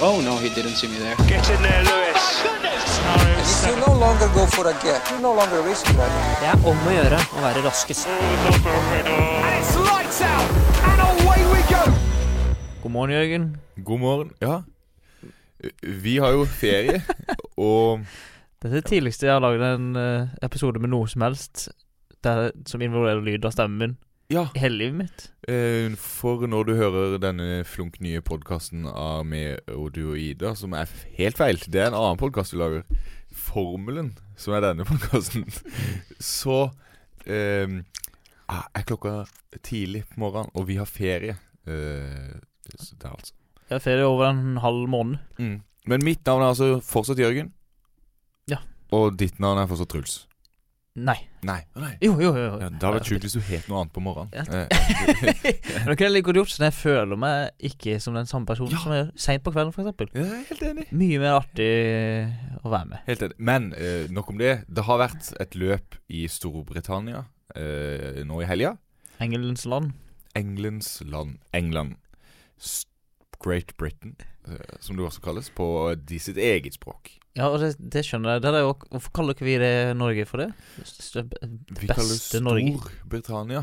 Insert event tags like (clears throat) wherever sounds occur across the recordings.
Oh no, he didn't see me there. Get in there, Lewis. If you no longer go for a gap, you no longer risk that. Det er om å gjøre å være raskest. It's lights out and away we go. God morgen, Jørgen. God morgen. Ja. Vi har jo (laughs) ferie, og Dette er det tidligste jeg har laget en eh, episode med noe som helst der, som involverer lyd av stemmen min Ja. i hele livet mitt. eh, For når du hører denne flunk nye podkasten av meg og du og Ida, som er f- helt feil, det er en annen podkast du lager, Formelen, som er denne podkasten, så eh, ah, er klokka tidlig på morgenen, og vi har ferie. Eh, så det er altså. Jeg har ferie over en halv måned. Mm. Men mitt navn er altså fortsatt Jørgen. Ja. Og ditt navn er fortsatt Truls. Nei. Nei. Å, nei. Jo, jo, jo. Ja, det hadde vært sjukt hvis du het noe annet på Eh, Ja. morgenen. Eh, (laughs) Men det kunne jeg like godt gjort, sånn jeg føler meg ikke som den samme personen Ja. som jeg gjør seint på kvelden, f.eks. Jeg er helt enig. Mye mer artig eh, å være med. Helt enig. Men eh, nok om det. Det har vært et løp i Storbritannia eh, nå i helga. Engelens land. Englands land England. S- Great Britain, eh, som det også kalles, på eh, de sitt eget språk. Ja, og det, det skjønner jeg. Det er jo, hvorfor kaller ikke vi det Norge for det? Stø- Beste Vi kaller det Norge. Storbritannia,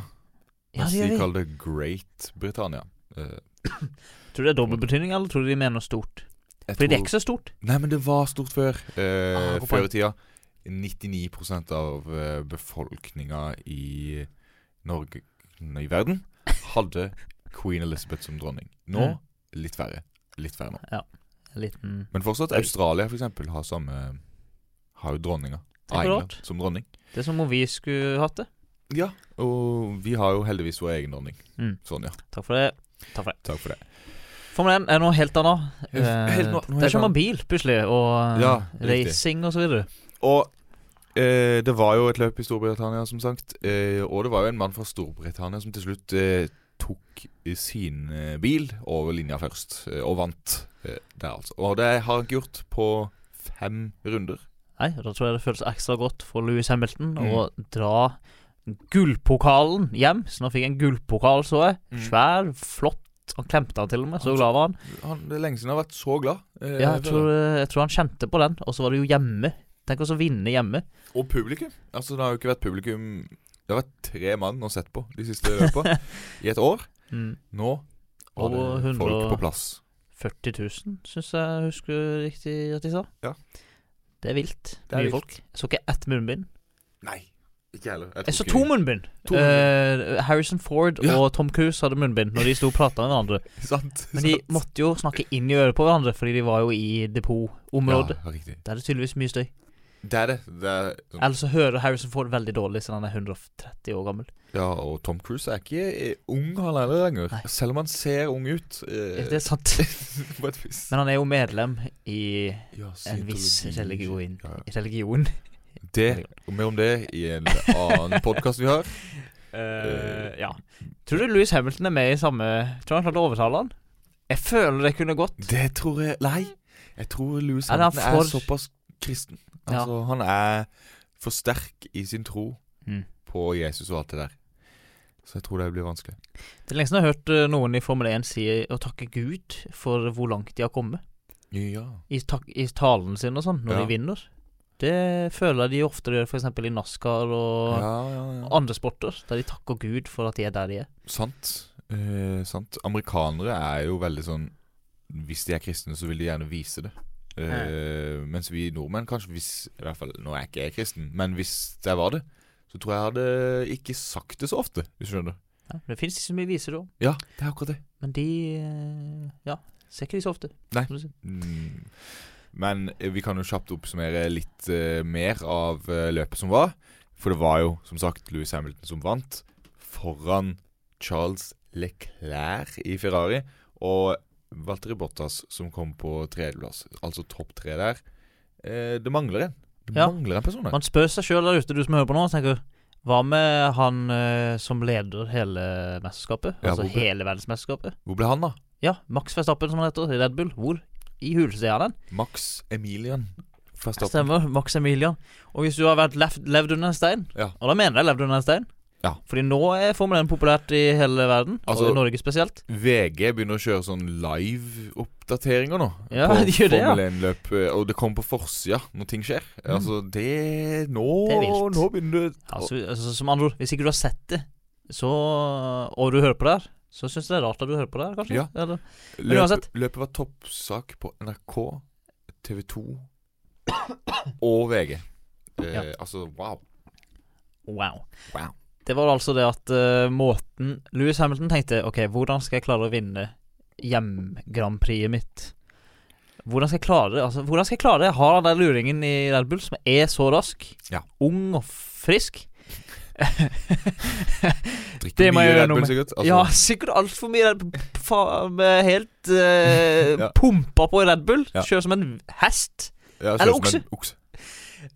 Ja, mens det gjør de vi. kaller det Great Britannia. Eh, Tror du det er dobbeltbetydning, eller tror du de mener stort? jeg Fordi det er tror- ikke så stort. Nei, men det var stort før. Eh, Ah, hvorfor? før i tida. 99 av eh, befolkninga i Norge nei, i verden hadde queen Elizabeth som dronning. Nå Mm. litt færre. Litt færre nå. En liten Men fortsatt Australia, for eksempel, har samme Har jo dronninga. er Av England rart. som dronning. Det er som om vi skulle hatt det. Ja, og vi har jo heldigvis vår egen dronning. Mm. Sånn, ja. Takk for det. Takk for det. Takk for det. Formel 1 er noe helt annet. Eh, Helt- helt noe- Der noe helt kjører man annet. bil, plutselig, og eh, Ja, riktig. racing og så videre. Og eh, det var jo et løp i Storbritannia, som sagt. Eh, og det var jo en mann fra Storbritannia som til slutt eh, tok sin eh, bil over linja først, eh, og vant eh, der, altså. Og det har han ikke gjort på fem runder. Nei, og da tror jeg det føles ekstra godt for Louis Hamilton Mm. å dra gullpokalen hjem. Så nå fikk jeg en gullpokal, så jeg. Mm. Svær, flott. Han klemte han til og med, så glad var han. Han, det er lenge siden han har vært så glad. eh, Ja, jeg for tror, det. jeg tror han kjente på den, og så var det jo hjemme. Tenk også å vinne hjemme. Og publikum. Altså, det har jo ikke vært publikum Det har vært tre mann å sett på de siste (laughs) løpene i et år. Mm. Nå var Over 100 det folk og- på plass. 40 000, syns jeg husker riktig at de sa. Ja. Det er vilt. Det er Mye vilt. folk. Jeg så ikke ett munnbind. Nei, ikke heller. Jeg så tok to munnbind. To Eh, Harrison Ford Ja. og Tom Cruise hadde munnbind når de sto og prata med hverandre. (laughs) Sant. Men de sant. måtte jo snakke inn i øret på hverandre, fordi de var jo i depotområdet. Ja, riktig. Der er det tydeligvis mye støy. Det er det. det er, sånn- Ellers så hører Harrison Ford veldig dårlig siden han er 130 år gammel. ja, og Tom Cruise er ikke eh, ung han heller lenger. Nei. Selv om han ser ung ut. eh, Det er sant. (laughs) på et vis. Men han er jo medlem i Ja, en viss Scientology. religion. Ja, ja. Religion. Det, og mer om det i en annen podkast vi har. Eh, ja. Tror du Louis Hamilton er med i samme Tror du han klarte å overtale han? Jeg føler det kunne gått. Det tror jeg Nei. Jeg tror Louis Er det han Hamilton er, for- såpass kristen. Ja. Altså, Han er for sterk i sin tro Mm. på Jesus og alt det der. Så jeg tror det blir vanskelig. Det er lenge siden jeg har hørt eh, noen i Formel 1 si å takke Gud for hvor langt de har kommet. Ja. I, tak i talen sin og sånn, når Ja. de vinner. Det føler jeg de ofte gjør f.eks. i NASCAR og Ja, ja, ja. andre sporter, der de takker Gud for at de er der de er. Sant. Eh, sant. Amerikanere er jo veldig sånn Hvis de er kristne, så vil de gjerne vise det. Eh, mens vi nordmenn kanskje hvis, I hvert fall nå er ikke jeg kristen, men hvis jeg var det, så tror jeg jeg hadde ikke sagt det så ofte. Hvis du skjønner. Ja, det fins ikke så mye viser, da. Ja, det er akkurat det. Men de eh, Ja, ser ikke de så ofte. Nei. som du sier. Mm. Men eh, vi kan jo kjapt oppsummere litt eh, mer av eh, løpet som var. For det var jo som sagt Louis Hamilton som vant, foran Charles Leclerc i Ferrari. Og Valtteri Bottas som kom på tredjeplass. Altså topp tre der. Eh, det mangler en. Det Ja. mangler en person her. Man spør seg sjøl der ute, du som hører på nå, og tenker Hva med han eh, som leder hele mesterskapet? Ja, altså hvor ble- hele verdensmesterskapet? Hvor ble han, da? Ja, Max Verstappen, som han heter, i Red Bull. Hvor i huleste er han? Max Emilian. Verstappen. Stemmer. Max Emilian. Og hvis du har vært levd, levd under en stein, Ja. og da mener jeg levd under en stein, Ja. Fordi nå er Formel 1 populært i hele verden, Altså- og i Norge spesielt. VG begynner å kjøre sånn live-oppdateringer nå. Ja, på de gjør det, ja. Mm. Formel 1-løp. Og det kommer på forsida når ting skjer. Altså, det Nå Det er vilt. Nå begynner det Altså, altså, som andre ord, hvis ikke du har sett det, så Og du hører på det her, så syns jeg det er rart at du hører på det her, kanskje. Ja. Eller, men løpet, uansett. løpet var toppsak på NRK, TV 2 og VG. Eh, Ja. Altså, wow. wow. Wow. Det var altså det at eh, måten Louis Hamilton tenkte OK, hvordan skal jeg klare å vinne hjem-Grand Prixet mitt? Hvordan skal jeg klare det? Altså, hvordan skal jeg klare det? Jeg har han der luringen i Red Bull som er så rask. Ja. Ung og (laughs) frisk. Drikker Det må mye jeg gjøre Red noe Bull, med. sikkert. Altså, ja, sikkert altfor mye Red Bull. Faen meg helt eh, (laughs) Ja. pumpa på i Red Bull. Ja. Kjører som en hest. ja, Eller kjører som en okse.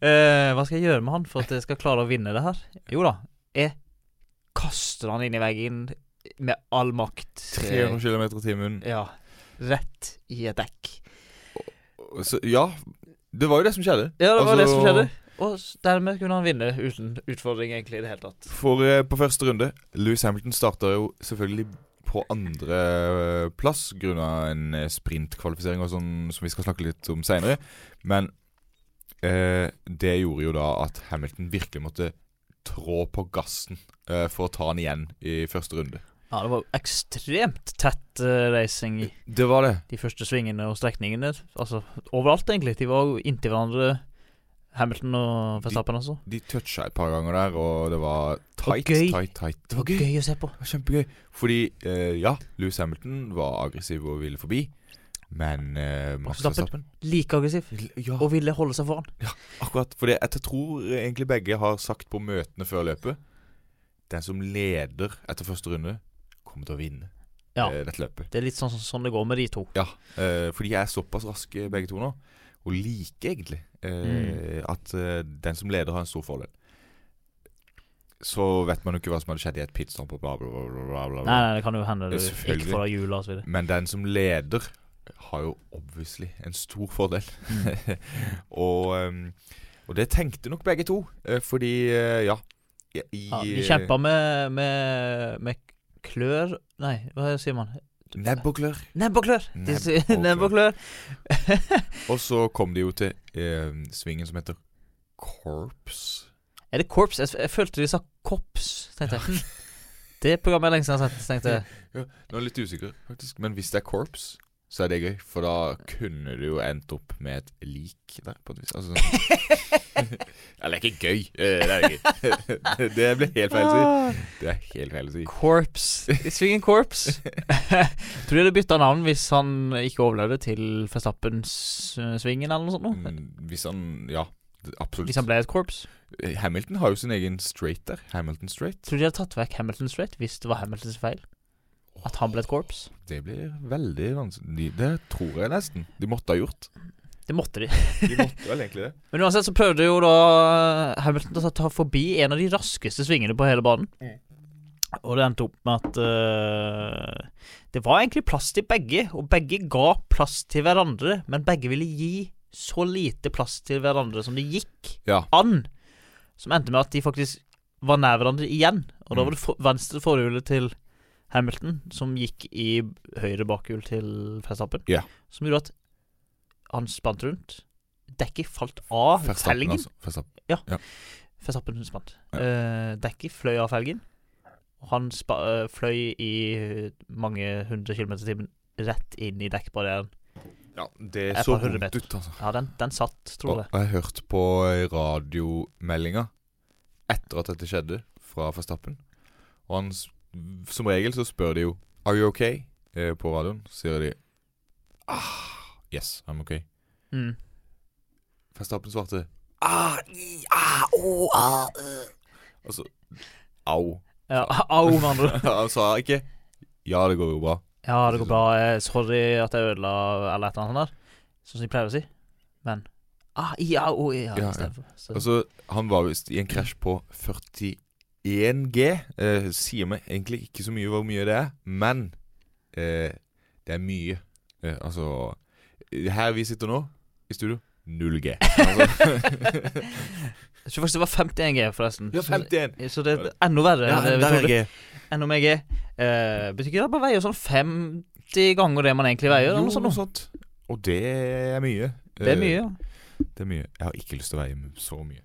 Eh, hva skal jeg gjøre med han for at jeg skal klare å vinne det her? Jo da, jeg kaster han inn i veggen med all makt. 300 km i timen. Ja. Rett i et dekk. Så, ja, det var jo det som skjedde. Ja, det var det som Altså- skjedde. Og s- dermed kunne han vinne uten utfordring, egentlig, i det hele tatt. For eh, på første runde Lewis Hamilton starta jo selvfølgelig på andreplass grunna en eh, sprintkvalifisering og sånn, som vi skal snakke litt om seinere. Men eh, det gjorde jo da at Hamilton virkelig måtte trå på gassen eh, for å ta han igjen i første runde. Ja, det var ekstremt tett eh, racing i Det var det. de første svingene og strekningene. Altså overalt, egentlig. De var jo inntil hverandre, Hamilton og Verstappen, altså. De toucha et par ganger der, og det var var tight, gøy. tight, tight. Det Det var var gøy. gøy å se på. Det var kjempegøy. Fordi, eh, ja, Lewis Hamilton var aggressiv og ville forbi, men eh, Max Verstappen. Verstappen Like aggressiv. Ja. Og ville holde seg foran. Akkurat, for det, jeg tror egentlig begge har sagt på møtene før løpet Den som leder etter første runde, kommer til å vinne Ja. eh, dette løpet. Det er litt sånn, sånn det går med de to. Ja, eh, For de er såpass raske begge to nå, og like egentlig, Mm. eh, at eh, den som leder har en stor fordel. Så vet man jo ikke hva som hadde skjedd i et pitstop og bla, bla, bla. bla, bla, bla. Nei, nei, det kan jo hende du Ja, selvfølgelig. ikke får deg jula og (laughs) så videre. Men den som leder har jo obviously en stor fordel. (laughs) og, ehm, og det tenkte nok begge to, eh, fordi eh, ja i, Ja, de kjempa med, med, med klør Nei, hva sier man? Nebb og klør. Nebb og klør! De sier Nebb og klør. Og så kom de jo til ehm, svingen som heter Corps. Er det korps? Jeg, jeg følte de sa kops, (laughs) tenkte jeg. Det programmet er lenge siden jeg har sett, tenkte jeg. Nå er jeg litt usikker, faktisk. Men hvis det er Corps, så er det gøy. For da kunne du jo endt opp med et lik der, på et vis. Altså, sånn. (laughs) Eller det er ikke gøy. Eh, Det er gøy. Det- (laughs) det ble helt feil å si. Ah. Det er helt feil å si. Korps. I svingen (laughs) korps. Tror de hadde bytta navn hvis han ikke overlevde til Verstappen-svingen eller noe sånt. noe. Mm, Hvis han Ja, det- absolutt. Hvis han ble et korps. Eh, Hamilton har jo sin egen straight der. Hamilton straight. Tror de hadde tatt vekk Hamilton straight hvis det var Hamiltons feil? At han ble et korps? Det blir veldig vanskelig. Det tror jeg nesten. De måtte ha gjort. Det måtte de. De måtte vel egentlig det. Men uansett så prøvde jo da eh, Hamilton å ta forbi en av de raskeste svingene på hele banen. Og det endte opp med at eh, Det var egentlig plass til begge, og begge ga plass til hverandre, men begge ville gi så lite plass til hverandre som det gikk Ja. an. Som endte med at de faktisk var nær hverandre igjen. Og da Mm. var det for, venstre forhjulet til Hamilton som gikk i høyre bakhjul til Verstappen. Ja. Som gjorde at han spant rundt. Dekket falt av Verstappen, felgen. altså. Verstappen. Verstappen spant. Ja. Eh, dekket fløy av felgen. Og han spa, eh, fløy i mange hundre kilometer i timen rett inn i dekkbarrieren. Ja, det Jeg så bare hører vondt det. ut, altså. Ja, den, den satt, Og tror jeg. og jeg hørte på radiomeldinga etter at dette skjedde, fra Verstappen. Og han s- Som regel så spør de jo Are you okay? Eh, på radioen. Så sier de ah, Yes, I'm okay. Mm. Verstappen svarte ah, i, ah, oh, ah, øh. Altså Au. Ja, (laughs) au, med andre ord. (laughs) Han sa ikke Ja, det går jo bra. Ja, det går bra. Eh, Sorry at jeg ødela eller et eller annet sånt der. Sånn som de pleier å si. Men ah, ja, oh, ja, Ja, ja. istedenfor. Så- Altså, han var visst i en krasj på 41 G. Eh, sier meg egentlig ikke så mye hvor mye det er, men eh, det er mye. Eh, altså Her vi sitter nå, i studio, 0 G. Altså, Jeg tror faktisk det var 51 G, forresten. (laughs) ja, 51. Så det er enda verre. Ja, enn det vi der trodde. er G. enn om jeg er eh, Betyr ikke det at man veier sånn 50 ganger det man egentlig veier? Eller Jo, noe sånn, sånt. noe. noe sånt. Og det er mye. Det er mye. Eh, ja. Det er mye. Jeg har ikke lyst til å veie så mye.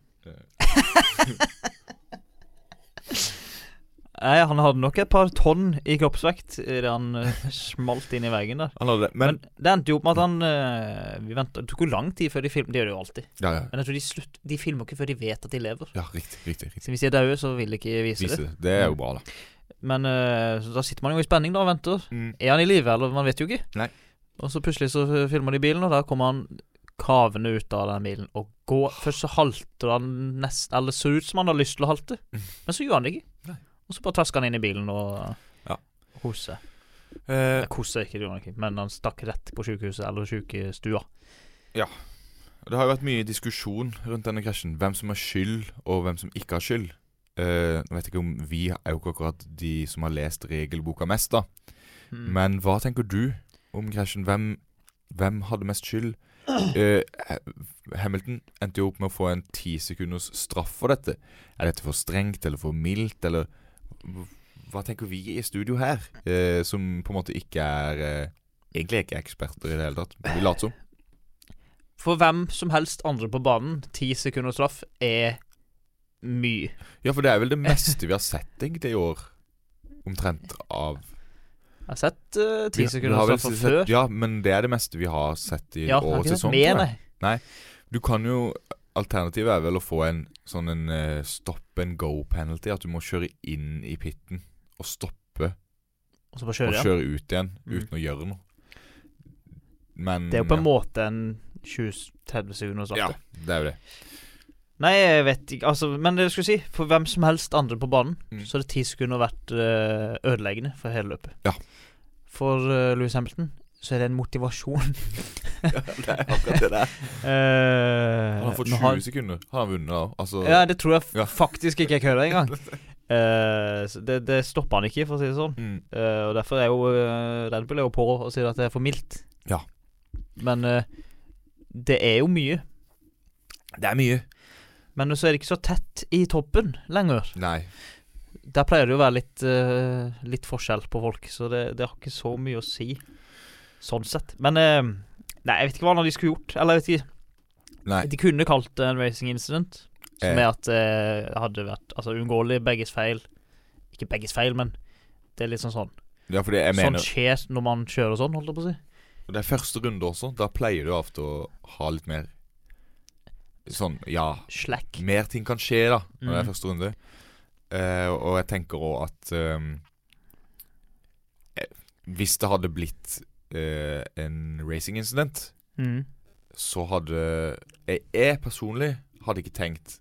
Nei, han hadde nok et par tonn i kroppsvekt eh, da han eh, smalt inn i veggen der. Han hadde det, Men, men det endte jo opp med at han eh, Vi venta Det tok jo lang tid før de filmet. Det gjør det jo alltid. Ja, ja. Men jeg tror de, slutt, de filmer ikke før de vet at de lever. ja riktig. riktig, riktig. Så hvis de er døde, så vil de ikke vise, Vise det. det. Mm. Det er jo bra, da. Men eh, så da sitter man jo i spenning da og venter. Mm. Er han i live, eller? Man vet jo ikke. Nei. Og så plutselig så filmer de bilen, og da kommer han kavende ut av den bilen og går. Først så halter han nesten Eller ser ut som han har lyst til å (laughs) halte, men så gjør han det ikke. Nei. Og så bare trasker han inn i bilen og Ja. koser. Eh, Jeg koser ikke, det gjorde han ikke, men han stakk rett på sykehuset eller sykestua. det har jo vært mye diskusjon rundt denne krasjen. Hvem som har skyld, og hvem som ikke har skyld. Eh, nå vet jeg ikke om Vi er jo ikke akkurat de som har lest regelboka mest, da. Mm. Men hva tenker du om krasjen? Hvem, hvem hadde mest (clears throat) skyld? Eh, Hamilton endte jo opp med å få en ti sekunders straff for dette. Er dette for strengt eller for mildt, eller hv- Hva tenker vi i studio her, eh, som på en måte ikke er eh, Egentlig er ikke eksperter i det hele tatt. men Vi later som. For hvem som helst andre på banen, ti sekunder straff er mye. Ja, for det er vel det meste vi har sett egentlig i år, omtrent av Jeg har sett eh, ti Vi- vi sekunder har vel straff fra sett- før. Ja, men det er det meste vi har sett i Ja, jeg har årets ikke sett sesong. mer, tror jeg. nei. Du kan jo Alternativet er vel å få en sånn en eh, stop and go penalty. At du må kjøre inn i pitten og stoppe Og så bare og kjører jeg. kjøre ut igjen Mm. uten å gjøre noe. Men Det er jo på en Mm, ja. måte en 20-30 sekunder straff. Ja, det. det (laughs) er jo det. Nei, jeg vet ikke altså, Men det jeg skulle si, for hvem som helst andre på banen, Mm. så hadde ti sekunder vært eh, ødeleggende for hele løpet. Ja. For eh, Lewis Hamilton så er det en (laughs) motivasjon. det er akkurat det der. Eh, Han har fått når 20 sekunder. Har han vunnet, da? Altså, Ja, det tror jeg f Ja. faktisk ikke jeg kødder (laughs) engang. Eh, så det, det stopper han ikke, for å si det sånn. mm. Eh, og derfor er jo uh, Red Bull er jo på og sier at det er for mildt. Ja. Men eh, det er jo mye. Det er mye. Men så er det ikke så tett i toppen lenger. Nei. Der pleier det jo å være litt, eh, litt forskjell på folk, så det, det har ikke så mye å si sånn sett. Men eh, Nei, jeg vet ikke hva annet de skulle gjort. Eller jeg vet ikke. Nei. De kunne kalt det en racing incident, som Eh. er at eh, det hadde vært altså, uunngåelig. Begges feil. Ikke begges feil, men det er litt sånn sånn. Ja, fordi jeg Sånn mener skjer når man kjører sånn, holdt jeg på å si. Det er første runde også. Da pleier du ofte å ha litt mer sånn Ja. Slack. mer ting kan skje da når Mhm. det er første runde. Eh, og jeg tenker òg at ehm, eh, Hvis det hadde blitt eh, en racing incident, Mm. så hadde jeg, jeg personlig hadde ikke tenkt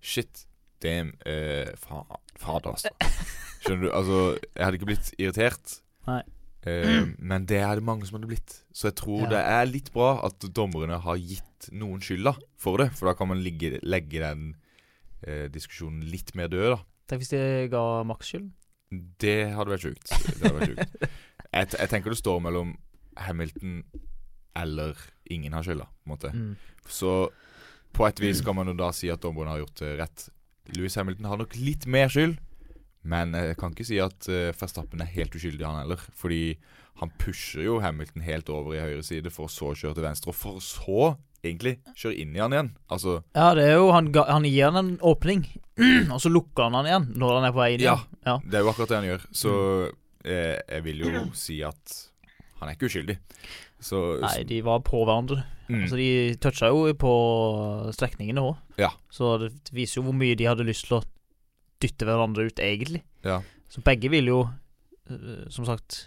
Shit, damn eh, fa Fader, altså. (laughs) Skjønner du? Altså, jeg hadde ikke blitt irritert. Nei. Eh, men det er det mange som hadde blitt. Så jeg tror Ja. det er litt bra at dommerne har gitt noen skylda for det. For da kan man ligge, legge den eh, diskusjonen litt mer død, da. Tenk hvis de ga Max skyld. Det hadde vært sjukt. Det hadde vært sjukt. (laughs) Jeg, t- jeg tenker det står mellom Hamilton eller ingen har skylda, på en måte. Mm. Så på et vis kan man jo da si at dommerne har gjort det rett. Louis Hamilton har nok litt mer skyld, men eh, jeg kan ikke si at uh, Verstappen er helt uskyldig, han heller. Fordi han pusher jo Hamilton helt over i høyre side, for så å kjøre til venstre, og for så egentlig kjøre inn i han igjen. Altså Ja, det er jo Han, ga, han gir han en åpning, (clears throat) og så lukker han han igjen når han er på vei inn. Ja. igjen. ja. Det er jo akkurat det han gjør. Så eh, jeg vil jo si at han er ikke uskyldig. Så Nei, de var på hverandre. mm, Altså, de toucha jo på strekningene òg. Ja. Så det viser jo hvor mye de hadde lyst til å dytte hverandre ut, egentlig. Ja. Så begge ville jo, øh, som sagt,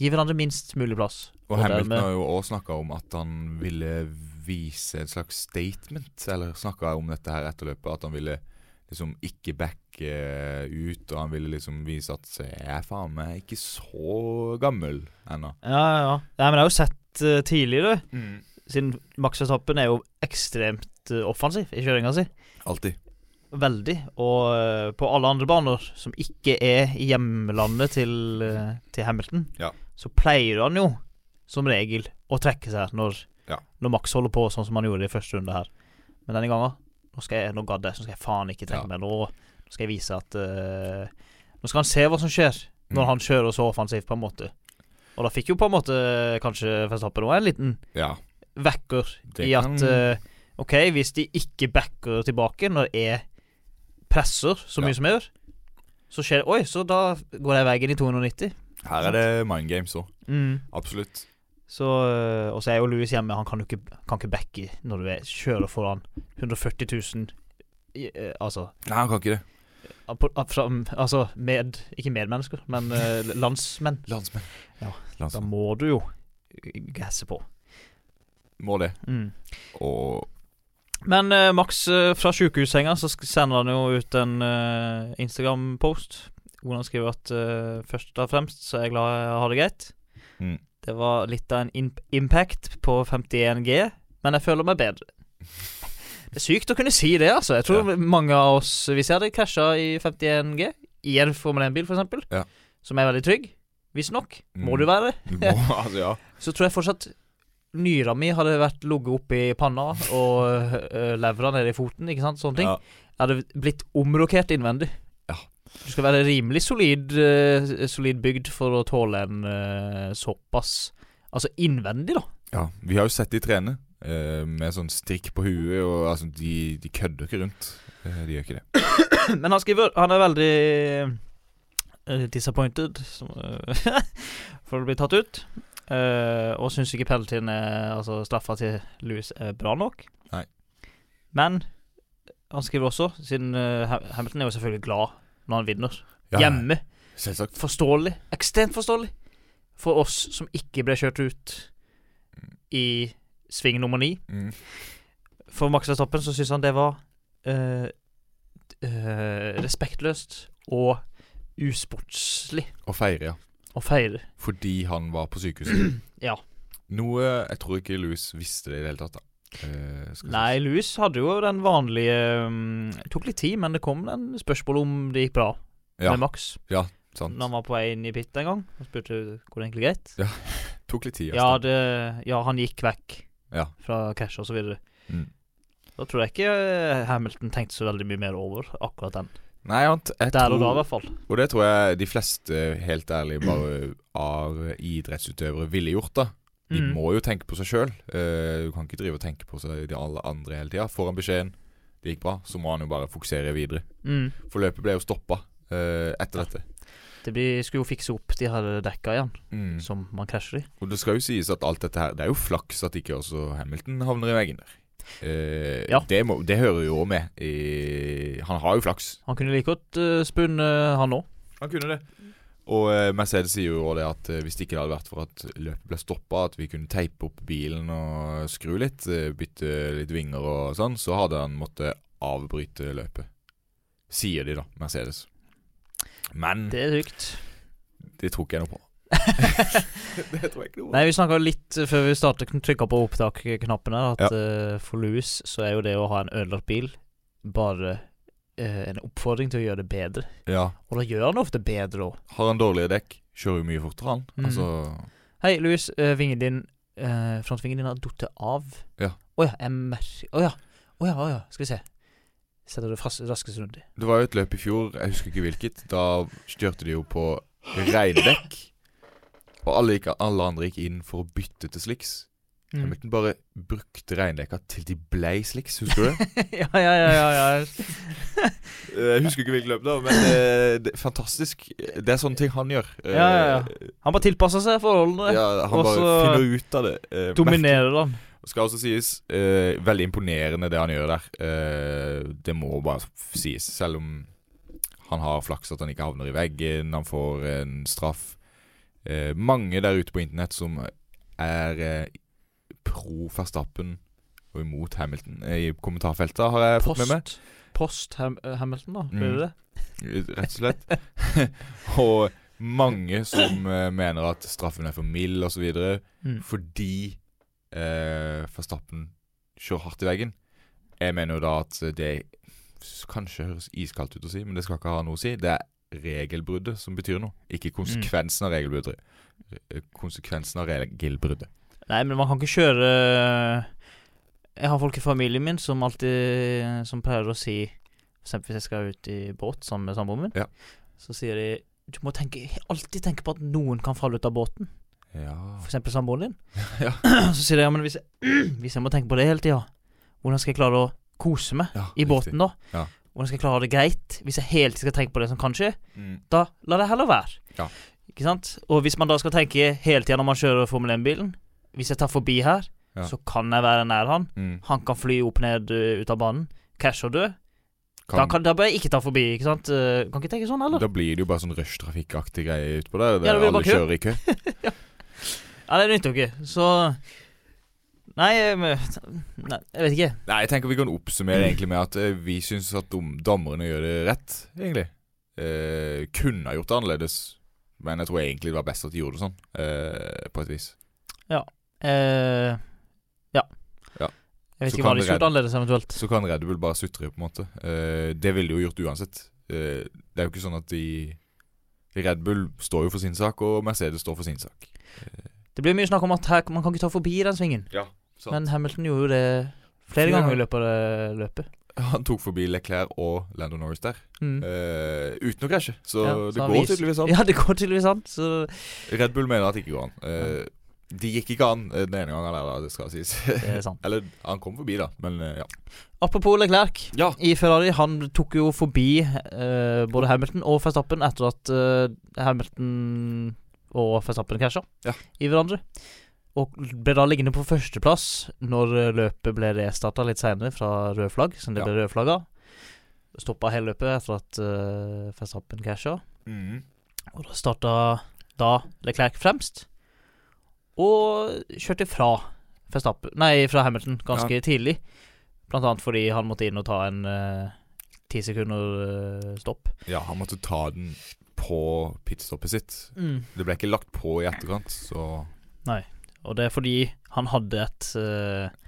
gi hverandre minst mulig plass. Og Hamilton dermed- har jo òg snakka om at han ville vise et slags statement, eller snakka om dette her etter løpet, at han ville liksom ikke backe ut, og han ville liksom vise at se, jeg er faen meg ikke så gammel ennå. Ja, ja, ja. Nei, men jeg har jo sett øh, tidligere, siden Max Verstappen er jo ekstremt øh, offensiv i kjøringa si. Alltid. Veldig. Og eh, på alle andre baner som ikke er i hjemlandet til, eh, til Hamilton, Ja. så pleier han jo som regel å trekke seg når Ja. Når Max holder på sånn som han gjorde i første runde her. Men denne gangen Nå skal jeg, nå gadd jeg, så skal jeg faen ikke trekke Ja. meg. Nå, nå skal jeg vise at eh, Nå skal han se hva som skjer når Mm. han kjører så offensivt, på en måte. Og da fikk jo på en måte eh, kanskje Verstappen også en liten Ja. vekker Det i at kan- eh, OK, hvis de ikke backer tilbake når jeg presser så mye Ja. som jeg gjør, så skjer det Oi, så da går jeg veien i 290. Her er det mind games òg. Absolutt. Så, eh, og så er jo Louis hjemme. Han kan jo ikke, kan ikke backe når du er, kjører foran 140 000 i, eh, Altså, Nei, han kan ikke det. apo- ap- fram- altså med, ikke medmennesker, men eh, landsmenn. Landsmenn. Ja, Da Landsmenn. må du jo eh, gasse på. Må det. Mm. Og Men eh, Max, eh, fra sjukehussenga, så sk- sender han jo ut en eh, Instagram-post hvor han skriver at eh, først og fremst så er jeg glad jeg har det greit. Mm. Det var litt av en imp impact på 51G, men jeg føler meg (laughs) bedre. Det er sykt å kunne si det, altså. Jeg tror mange av oss, hvis jeg hadde krasja i 51G, i en Formel 1-bil f.eks., Ja. som er veldig trygg, visstnok, må Mm. du være det, (laughs) du må Altså, ja. så tror jeg fortsatt nyra mi hadde vært ligget oppi panna og øh, levra nede i foten. ikke sant, sånne ting. Ja. Jeg hadde blitt omrokert innvendig. Ja. Du skal være rimelig solid, øh, solid bygd for å tåle en øh, såpass Altså innvendig, da. ja. Vi har jo sett de trene eh, med sånn strikk på huet, og altså, de, de kødder ikke rundt. Eh, de gjør ikke det. Men han skriver Han er veldig øh, disappointed som, øh, (laughs) for å bli tatt ut. øh, og syns ikke penaltyen er Altså straffa til Louis er bra nok. Nei. Men han skriver også, siden øh, Ham- Hamilton er jo selvfølgelig glad når han vinner. Ja, Hjemme. Selvsagt. Forståelig. Ekstremt forståelig. For oss som ikke ble kjørt ut i sving nummer ni. Mm. For Max Verstappen så syns han det var eh, eh, respektløst og usportslig Og feire, ja. å feire. Fordi han var på sykehuset. (clears throat) Ja. Noe jeg tror ikke Louis visste det i det hele tatt, da. Eh, skal Nei, sies. Louis hadde jo den vanlige um, Tok litt tid, men det kom en spørsmål om det gikk bra Ja, med Max. sant. Når han var på vei inn i pit en gang. Han spurte går det egentlig greit. Tok litt tid. Ja, altså. det, ja han gikk vekk Ja. fra cash og så videre. Mm. Da tror jeg ikke eh, Hamilton tenkte så veldig mye mer over akkurat den. Nei, han, t- jeg Der og da, i tror, hvert fall. og det tror jeg de fleste, helt ærlig, bare av idrettsutøvere ville gjort, da. De Mm. må jo tenke på seg sjøl. du kan ikke drive og tenke på seg de alle andre hele tida. Får han beskjeden det gikk bra, så må han jo bare fokusere videre. Mm. For løpet ble jo stoppa etter dette. Det blir, skulle jo fikse opp de her dekka igjen, Mm. som man krasjer i. Og det skal jo sies at alt dette her Det er jo flaks at ikke også Hamilton havner i veggen der. Eh, Ja. det, må, det hører jo også med. i- han har jo flaks. Han kunne like godt uh, spunnet, han òg. Han kunne det. Og eh, Mercedes sier jo også det at eh, hvis det ikke hadde vært for at løpet ble stoppa, at vi kunne teipe opp bilen og skru litt, eh, bytte litt vinger og sånn, så hadde han måttet avbryte løpet. Sier de, da, Mercedes. Men det, Det er sykt. tror ikke jeg noe på. (laughs) det tror jeg ikke noe (laughs) på. Nei, vi snakka litt eh, før vi startet, kn- trykka på opptak-knappene, at eh, for Louis så er jo det å ha en ødelagt bil bare eh, en oppfordring til å gjøre det bedre. Ja. Og da gjør han det ofte bedre òg. Har han dårligere dekk, kjører jo mye fortere, han. Mm. Altså Hei, Louis, eh, vingen din eh, Frontvingen din har datt av. Ja. Å ja, jeg merker Å ja. Å ja, å ja. Skal vi se. Setter det fast, raskest rundt i. Det var jo et løp i fjor, jeg husker ikke hvilket. Da kjørte de jo på regndekk. Og alle, gikk, alle andre gikk inn for å bytte til slicks. Hamilton bare brukte regndekka til de blei slicks, husker du det? (laughs) ja, ja, ja, ja, ja. (laughs) Jeg husker ikke hvilket løp det var, men eh, det, fantastisk. Det er sånne ting han gjør. Eh, Ja, ja, Han bare tilpasser seg forholdene. ja, han Og bare så finner ut av det. eh, Dominerer han. merker. Skal også sies eh, veldig imponerende, det han gjør der. Eh, det må bare f- sies, selv om han har flaks at han ikke havner i veggen, han får en straff. Eh, mange der ute på internett som er eh, pro Verstappen og imot Hamilton eh, i kommentarfeltet, har jeg fått med meg. Post, post Ham eh, Hamilton, da. Blir det Mm. det? Rett og slett. (laughs) og mange som eh, mener at straffen er for mild osv. videre Mm. fordi eh, Verstappen kjører hardt i veggen. Jeg mener jo da at det s- kanskje høres iskaldt ut å si, men det skal ikke ha noe å si. Det er Mm. regelbruddet som betyr noe, ikke konsekvensen av regelbruddet. Eh, Konsekvensen av regelbruddet. Nei, men man kan ikke kjøre eh, Jeg har folk i familien min som alltid eh, Som pleier å si For eksempel hvis jeg skal ut i båt sammen med samboeren min, Ja. så sier de Du må tenke, alltid tenke på at noen kan falle ut av båten. Ja. For eksempel samboeren din. Ja. (clears throat) Så sier de ja, men hvis (clears throat) jeg, hvis jeg må tenke på det hele tida, hvordan skal jeg klare å kose meg ja i båten da? Ja. Hvordan skal jeg klare det greit hvis jeg hele tiden skal tenke på det som kan skje? Mm. da la det heller være. Ja. Ikke sant? Og hvis man da skal tenke hele tida når man kjører Formel 1-bilen Hvis jeg tar forbi her, Ja. så kan jeg være nær han. Mm. Han kan fly opp ned ø, ut av banen. Krasje og dø. Kan, Da, kan, da bør jeg ikke ta forbi, ikke sant? Eh, Kan ikke tenke sånn, eller? da blir det jo bare sånn rushtrafikkaktig greie utpå Ja, der. Der det blir alle bare kø. kjører i kø. Ja, det nytter jo ikke. Så Nei, eh, men- nei, jeg vet ikke. Nei, jeg tenker vi kan oppsummere egentlig med at eh, vi syns at dom dommerne gjør det rett, egentlig. Eh, kunne ha gjort det annerledes, men jeg tror egentlig det var best at de gjorde det sånn, eh, på et vis. Eh, ja. Ja. Jeg vet Så ikke kan hva de det skulle gjort annerledes, eventuelt. Så kan Red Bull bare sutre, på en måte. Eh, det ville de jo gjort uansett. Eh, det er jo ikke sånn at de Red Bull står jo for sin sak, og Mercedes står for sin sak. (laughs) Det blir mye snakk om at her, man kan ikke ta forbi den svingen, Ja, sant. men Hamilton gjorde jo det flere Flere ganger i løpet av det løpet. Han tok forbi Leclerc og Lando Norris der, Mm. eh, uten å krasje. Så Ja, så det han går viser- tydeligvis an. Ja, det går tydeligvis an. Så Red Bull mener at det ikke går an. Eh, de gikk ikke an eh, den ene gangen, der, da, det skal sies. (laughs) det er sant. Eller han kom forbi, da, men eh, ja. Apropos Leclerc Ja, i Ferrari. Han tok jo forbi eh, både Hamilton og Verstappen etter at eh, Hamilton og Verstappen krasja Ja. i hverandre. Og ble da liggende på førsteplass når eh, løpet ble restarta litt seinere fra rød flagg, som det Ja. ble rød flagg av. Stoppa hele løpet etter at uh, Verstappen krasja. Mm. Og da starta da Leclerc fremst. Og kjørte fra, Verstappen- nei, fra Hamilton ganske tidlig. Blant annet fordi han måtte inn og ta en eh, ti sekunder eh, stopp. ja, han måtte ta den på pitstoppet sitt. Det ble ikke lagt på i etterkant, så Og det er fordi han hadde et eh,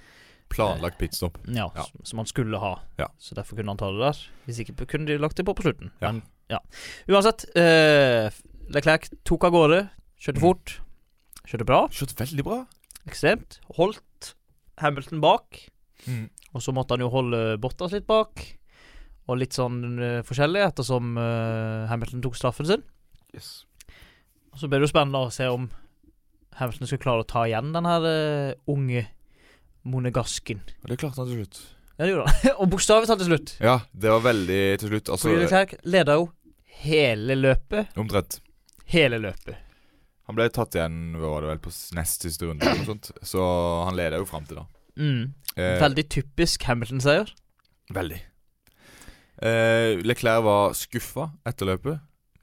planlagt pitstopp. ja, Ja. s- som han skulle ha. Ja. Så derfor kunne han ta det der. Hvis ikke p- kunne de lagt det på på slutten. Ja. Men ja. Uansett, eh, Leclerc tok av gårde. Mm. Kjørte fort. Kjørte bra. Kjørt veldig bra. Ekstremt. Holdt Hamilton bak. Mm. Og så måtte han jo holde Bottas litt bak, og litt sånn eh, forskjellig ettersom eh, Hamilton tok straffen sin. Og så ble det jo spennende å se om Hamilton skulle klare å ta igjen den her eh, unge monegasken. Og det klarte han til slutt. Ja, det gjorde han. (laughs) og bokstavelig talt til slutt. Ja, det var veldig til slutt. Altså, Fordi Leclerc leda jo hele løpet. omtrent. Hele løpet. Han ble tatt igjen hva var det vel, på s- nest siste runde, eller noe sånt. så han leda jo fram til da. Mm. Eh, Veldig typisk Hamilton-seier. Veldig. Eh, Leclerc var skuffa etter løpet,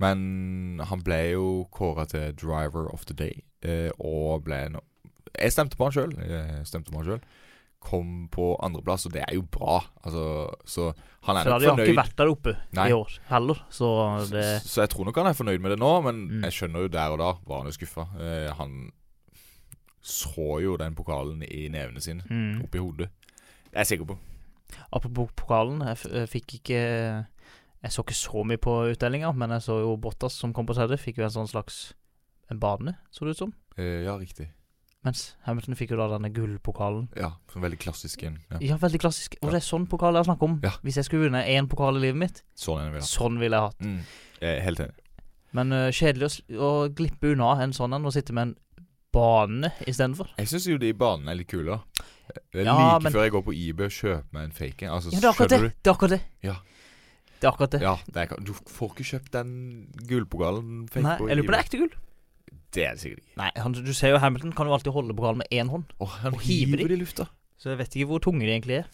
men han ble jo kåra til driver of the day. Eh, og ble en Jeg stemte på han sjøl. Stemte på han selv. Kom på andreplass, og det er jo bra. Altså, så han er Så nok de har ikke fornøyd. vært der oppe Nei. i år heller, så det Så- Så jeg tror nok han er fornøyd med det nå, men Mm. jeg skjønner jo der og da var han jo skuffa. Eh, han så jo den pokalen i nevene sine, mm. oppi hodet. Det er jeg sikker på. Apropos pokalen, jeg, f jeg fikk ikke Jeg så ikke så mye på utdelinga, men jeg så jo Bottas som kom på tredje, fikk jo en sånn slags En bane, så det ut som. Eh, ja, riktig. Mens Hamilton fikk jo da denne gullpokalen. Ja, sånn Veldig klassisk en. Ja. Ja, veldig klassisk. Og Ja. det er sånn pokal jeg snakker om. Ja. Hvis jeg skulle vunnet én pokal i livet mitt, Sånn en vil ha. sånn ville jeg hatt. Mm. Jeg er helt enig. Men øh, kjedelig å, s- å glippe unna en sånn en og sitte med en bane istedenfor. Jeg syns jo de banene er litt kule, da. Det er Ja, like men- før jeg går på eBay og kjøper meg en fake en. Altså, Ja, det er akkurat det! skjønner Det er akkurat det. Ja. Det er akkurat du? det. Ja, det er, ikke- du får ikke kjøpt den gullpokalen fake Nei, på jeg lurer på det eBay. er ekte gull. Det er det sikkert ikke. Nei, han, du ser jo Hamilton kan jo alltid holde pokalen med én hånd. Og han Og hiver hiver de. det i lufta. Så jeg vet ikke hvor tunge de egentlig er.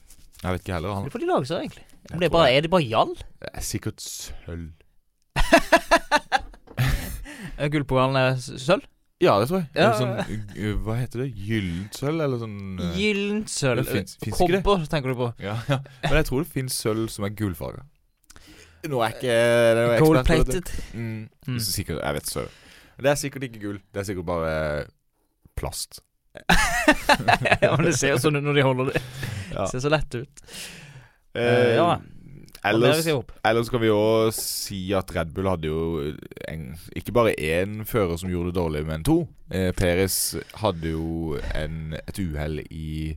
Jeg vet ikke heller. Han Hvorfor de lager seg, egentlig? Jeg Om det tror bare, det. er det bare gjall? Det er sikkert sølv. Gullpokalen (laughs) er s- sølv? Ja, det tror jeg. Ja. Eller sånn g- Hva heter det? Gyllent sølv? Eller sånn eh, Gyllent sølv. det fins- fins ikke det? Kobber, tenker du på. ja, ja. Men jeg tror det fins sølv som er gullfarga. Nå er ikke det er jo ekspert på dette. Gold-plated. Mm. Mm. (laughs) Så Sikkert, jeg vet sølv. Det er sikkert ikke gull. Det er sikkert bare eh, plast. ja, men det ser jo sånn ut når de holder det. (laughs) Ja. Ser så lett ut. Eh, ja. Ellers, skal jeg opp. ellers kan vi jo si at Red Bull hadde jo en, ikke bare én fører som gjorde det dårlig, men to. Eh, Peres hadde jo en, et uhell i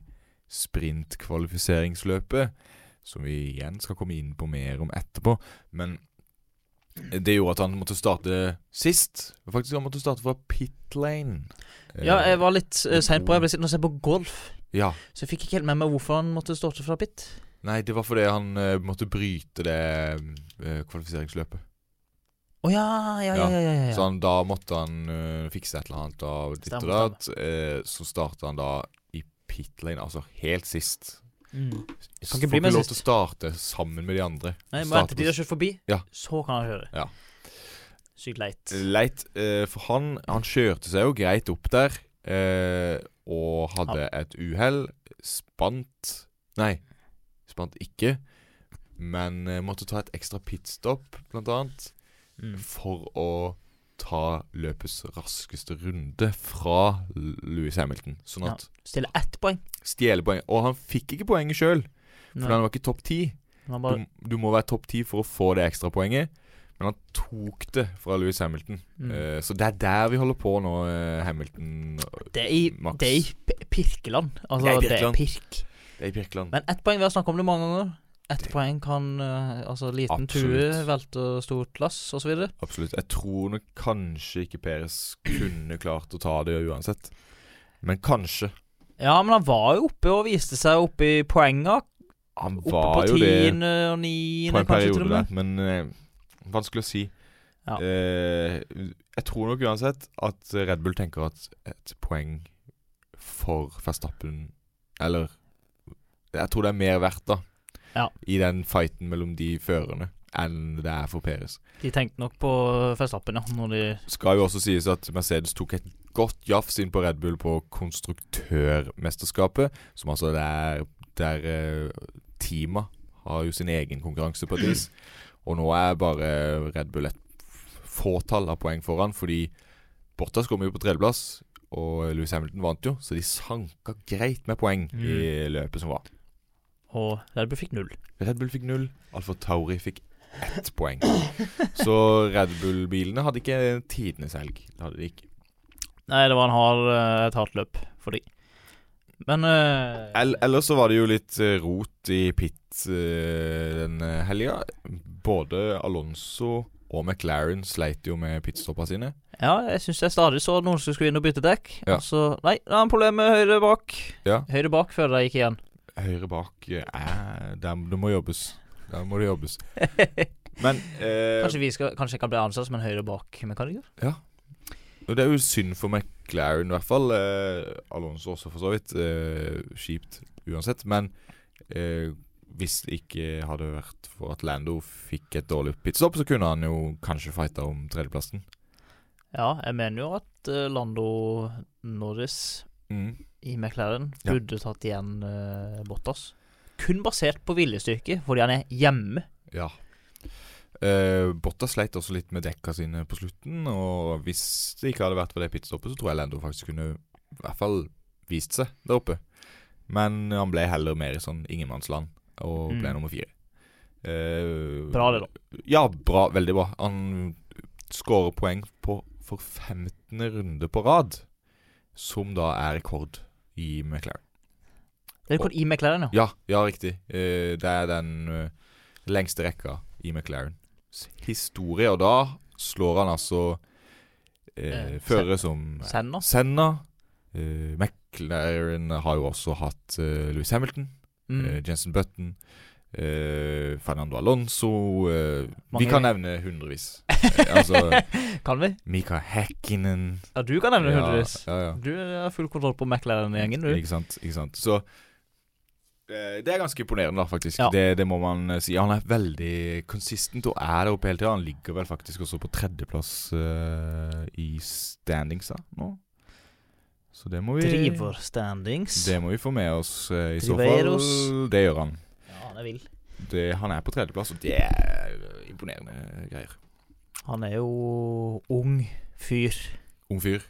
sprintkvalifiseringsløpet, som vi igjen skal komme inn på mer om etterpå. Men det gjorde at han måtte starte sist. Faktisk, han måtte starte fra pit lane. Eh, Ja, jeg var litt uh, seint Mm. på. Jeg ble sittende og se på golf, ja. så jeg fikk ikke helt med meg hvorfor han måtte starte fra pit. Nei, det var fordi han eh, måtte bryte det eh, kvalifiseringsløpet. Å ja, ja, ja, ja, ja, ja. Så han, da måtte han øh, fikse et eller annet av ditt og Stemmer, datt. eh, så starta han da i pit lane, altså helt sist. Mm. Så ikke får bli ikke med lov sist. til å starte sammen med de andre. Nei, må Starte vente til de har kjørt forbi, Ja. så kan han kjøre. Ja. Sykt leit. Leit, eh, for han, han kjørte seg jo greit opp der, eh, og hadde et uhell. Spant Nei, spant ikke, men eh, måtte ta et ekstra pitstop, blant annet, Mm. for å ta løpets raskeste runde fra Louis Hamilton. Sånn Ja. at Stille ett poeng. stjele poeng. Og han fikk ikke poenget sjøl, for Nei, han var ikke topp ti. han Du, bare, du må være topp ti for å få det ekstrapoenget. Men han tok det fra Louis Hamilton. mm. Eh, så det er der vi holder på nå, eh, Hamilton. Det er i, Max. det er i P- Pirkeland. Altså, Det det er er, Pirkeland. pirk. Det er i Birkeland. Men ett poeng, vi har snakket om det mange ganger. Ett poeng kan eh, Altså, liten tue Absolutt. velter stort lass, osv. Absolutt. Jeg tror nok kanskje ikke Peres kunne klart å ta det uansett. Men kanskje. Ja, men han var jo oppe og viste seg oppe i poenga. Han Oppe var på jo det tiende og på niende, en kanskje, til periode og der, med. men eh, vanskelig å si. Ja. Eh, jeg tror nok uansett at Red Bull tenker at et poeng for Verstappen Eller Jeg tror det er mer verdt, da, Ja. i den fighten mellom de førerne, enn det er for Peres. De tenkte nok på Verstappen, ja. Når de Skal jo også sies at Mercedes tok et godt jafs inn på Red Bull på konstruktørmesterskapet, som altså det er der eh, teama har jo sin egen konkurranse på et (clears throat) vis. Og nå er bare Red Bull et fåtall av poeng foran, fordi Bottas kom jo på tredjeplass, og Louis Hamilton vant jo, så de sanka greit med poeng i løpet som var. Og Red Bull fikk null. Mm. (laughs) Red Bull fikk null, Alfa Tauri fikk ett poeng. Så Red Bull-bilene hadde ikke tidenes helg. Det hadde de ikke. Nei, det var en hard, eh, et hardt løp for de. Men eh, Ell- ellers så var det jo litt eh, rot i pit eh, den eh, helga. Både Alonso og McLaren sleit jo med pitstoppa sine. Ja, jeg syns jeg stadig så noen som skulle inn og bytte dekk. Ja. Og så Nei, det er en problem med høyre bak. Ja. Høyre bak før de gikk (laughs) igjen. Høyre bak eh, er der, Det må jobbes. Der må det jobbes. Men eh, Kanskje vi skal Kanskje jeg kan bli ansatt som en høyre bak mekaniker? Og Det er jo synd for McLaren, i hvert fall. Eh, Alonso også, for så vidt. Eh, kjipt uansett. Men eh, hvis det ikke hadde vært for at Lando fikk et dårlig pitstop, så kunne han jo kanskje fighta om tredjeplassen. Ja, jeg mener jo at eh, Lando Norris Mm. i McLaren Ja. burde tatt igjen eh, Bottas. Kun basert på viljestyrke, fordi han er hjemme. Ja. Eh, Botta sleit også litt med dekka sine på slutten, og hvis det ikke hadde vært for det pitstoppet, så tror jeg Lando faktisk kunne i hvert fall vist seg der oppe. Men han ble heller mer i sånn ingenmannsland, og ble Mm. nummer fire. Eh, Bra det, da. Ja, bra, veldig bra. Han skårer poeng på for 15. runde på rad, som da er rekord i McLaren. Det er rekord i McLaren, ja. Ja, ja, riktig. Eh, det er den eh, lengste rekka i McLarens historie. Og da slår han altså uh, Eh, førere som Senna. Senna. Eh, McLaren har jo også hatt eh, Louis Hamilton, Mm. eh, Jensen Button, eh, Fernando Alonso eh, Vi Mange- kan nevne hundrevis. Eh, altså Kan vi? Mika Häkkinen Ja, du kan nevne (laughs) Ja, hundrevis. Ja, ja. Du har full kontroll på McLaren-gjengen, du. Ikke sant, ikke sant. Så eh, det er ganske imponerende, da, faktisk. Ja. Det, det må man eh, si. Han er veldig konsistent og er der oppe hele tida. Han ligger vel faktisk også på tredjeplass eh, i standings da, nå. Så det må vi Driver standings. Det må vi få med oss eh, i så fall. Driveros. Det gjør han. Ja, han er vill. Det, han er på tredjeplass, og det er eh, imponerende greier. Han er jo ung fyr. Ung fyr.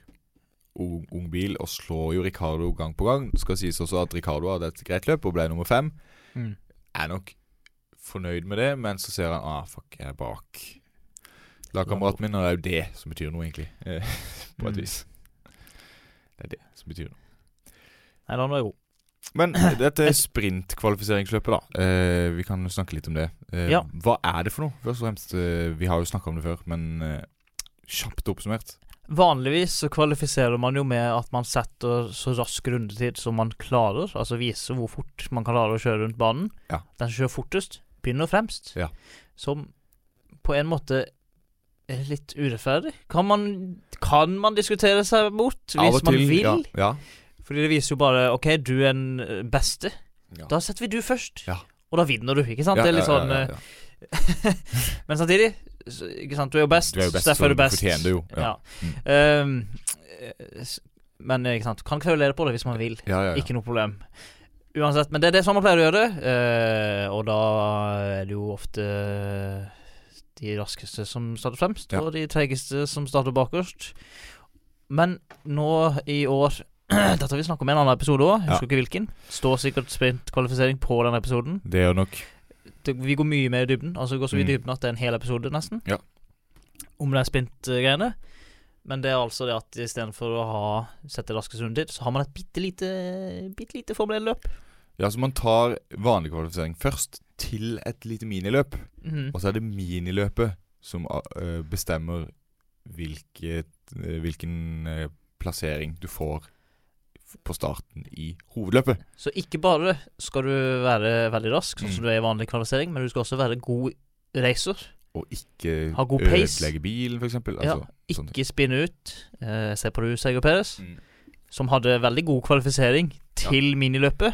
Ung, ung bil, og slår jo Ricardo Mm. gang på gang. Det skal sies også at Ricardo hadde et greit løp og ble nummer fem. er nok fornøyd med det, men så ser han ah, fuck, jeg er bak lagkameraten min, og det er jo det som betyr noe, egentlig. Eh, (laughs) På Mm. et vis. Det er det som betyr noe. Nei, da nå er jeg god. (clears throat) Men dette sprintkvalifiseringsløpet, da. Eh, vi kan jo snakke litt om det. Eh, Ja. Hva er det for noe? Først og fremst, eh, vi har jo snakka om det før, men eh, kjapt oppsummert. Vanligvis så kvalifiserer man jo med at man setter så rask rundetid som man klarer. Altså viser hvor fort man kan klare å kjøre rundt banen. Ja. Den som kjører fortest, begynner fremst. Ja. Som på en måte er litt urettferdig. Kan man, kan man diskutere seg bort Av hvis og man til, vil? Ja, ja. Fordi det viser jo bare OK, du er den eh, beste. Ja. Da setter vi du først. Ja. Og da vinner du, ikke sant? Ja, det er ja, litt ja, sånn, ja, eh, ja. Men samtidig, så- ikke sant, du er jo best, Du er jo best, så derfor så er du du best. fortjener det jo, ja. Mm. Ehm, s- men eh, ikke sant, kan kverulere på det hvis man vil. Ja, ja, ja. Ikke noe problem. Uansett, men det er det sånn man pleier å gjøre det. eh, og da er det jo ofte eh, de raskeste som starter fremst, Ja. og de tregeste som starter bakerst. Men nå i år (clears throat) Dette har vi snakket om i en annen episode òg, husker ikke hvilken. Står sikkert sprintkvalifisering på den episoden Det gjør nok det, vi går mye mer i dybden. Altså Vi går så vidt i Mm. dybden at det er en hel episode, nesten. Ja. Om det er sprint-greiene. Men det er altså det at istedenfor å ha sette raskest rundetid, så har man et bitte lite, bitte lite formelløp. Ja, så man tar vanlig kvalifisering først til et lite miniløp, Mhm. og så er det miniløpet som eh, bestemmer hvilket, eh, hvilken eh, plassering du får f- på starten i hovedløpet. Så ikke bare skal du være veldig rask, sånn som Mm. Sånn, du er i vanlig kvalifisering, men du skal også være god racer. Og ikke Ha god pace. ødelegge bilen, f.eks. Altså, ja, sånne ikke spinne ut. Eh, se på du, Sergio Perez, Mm. som hadde veldig god kvalifisering til miniløpet.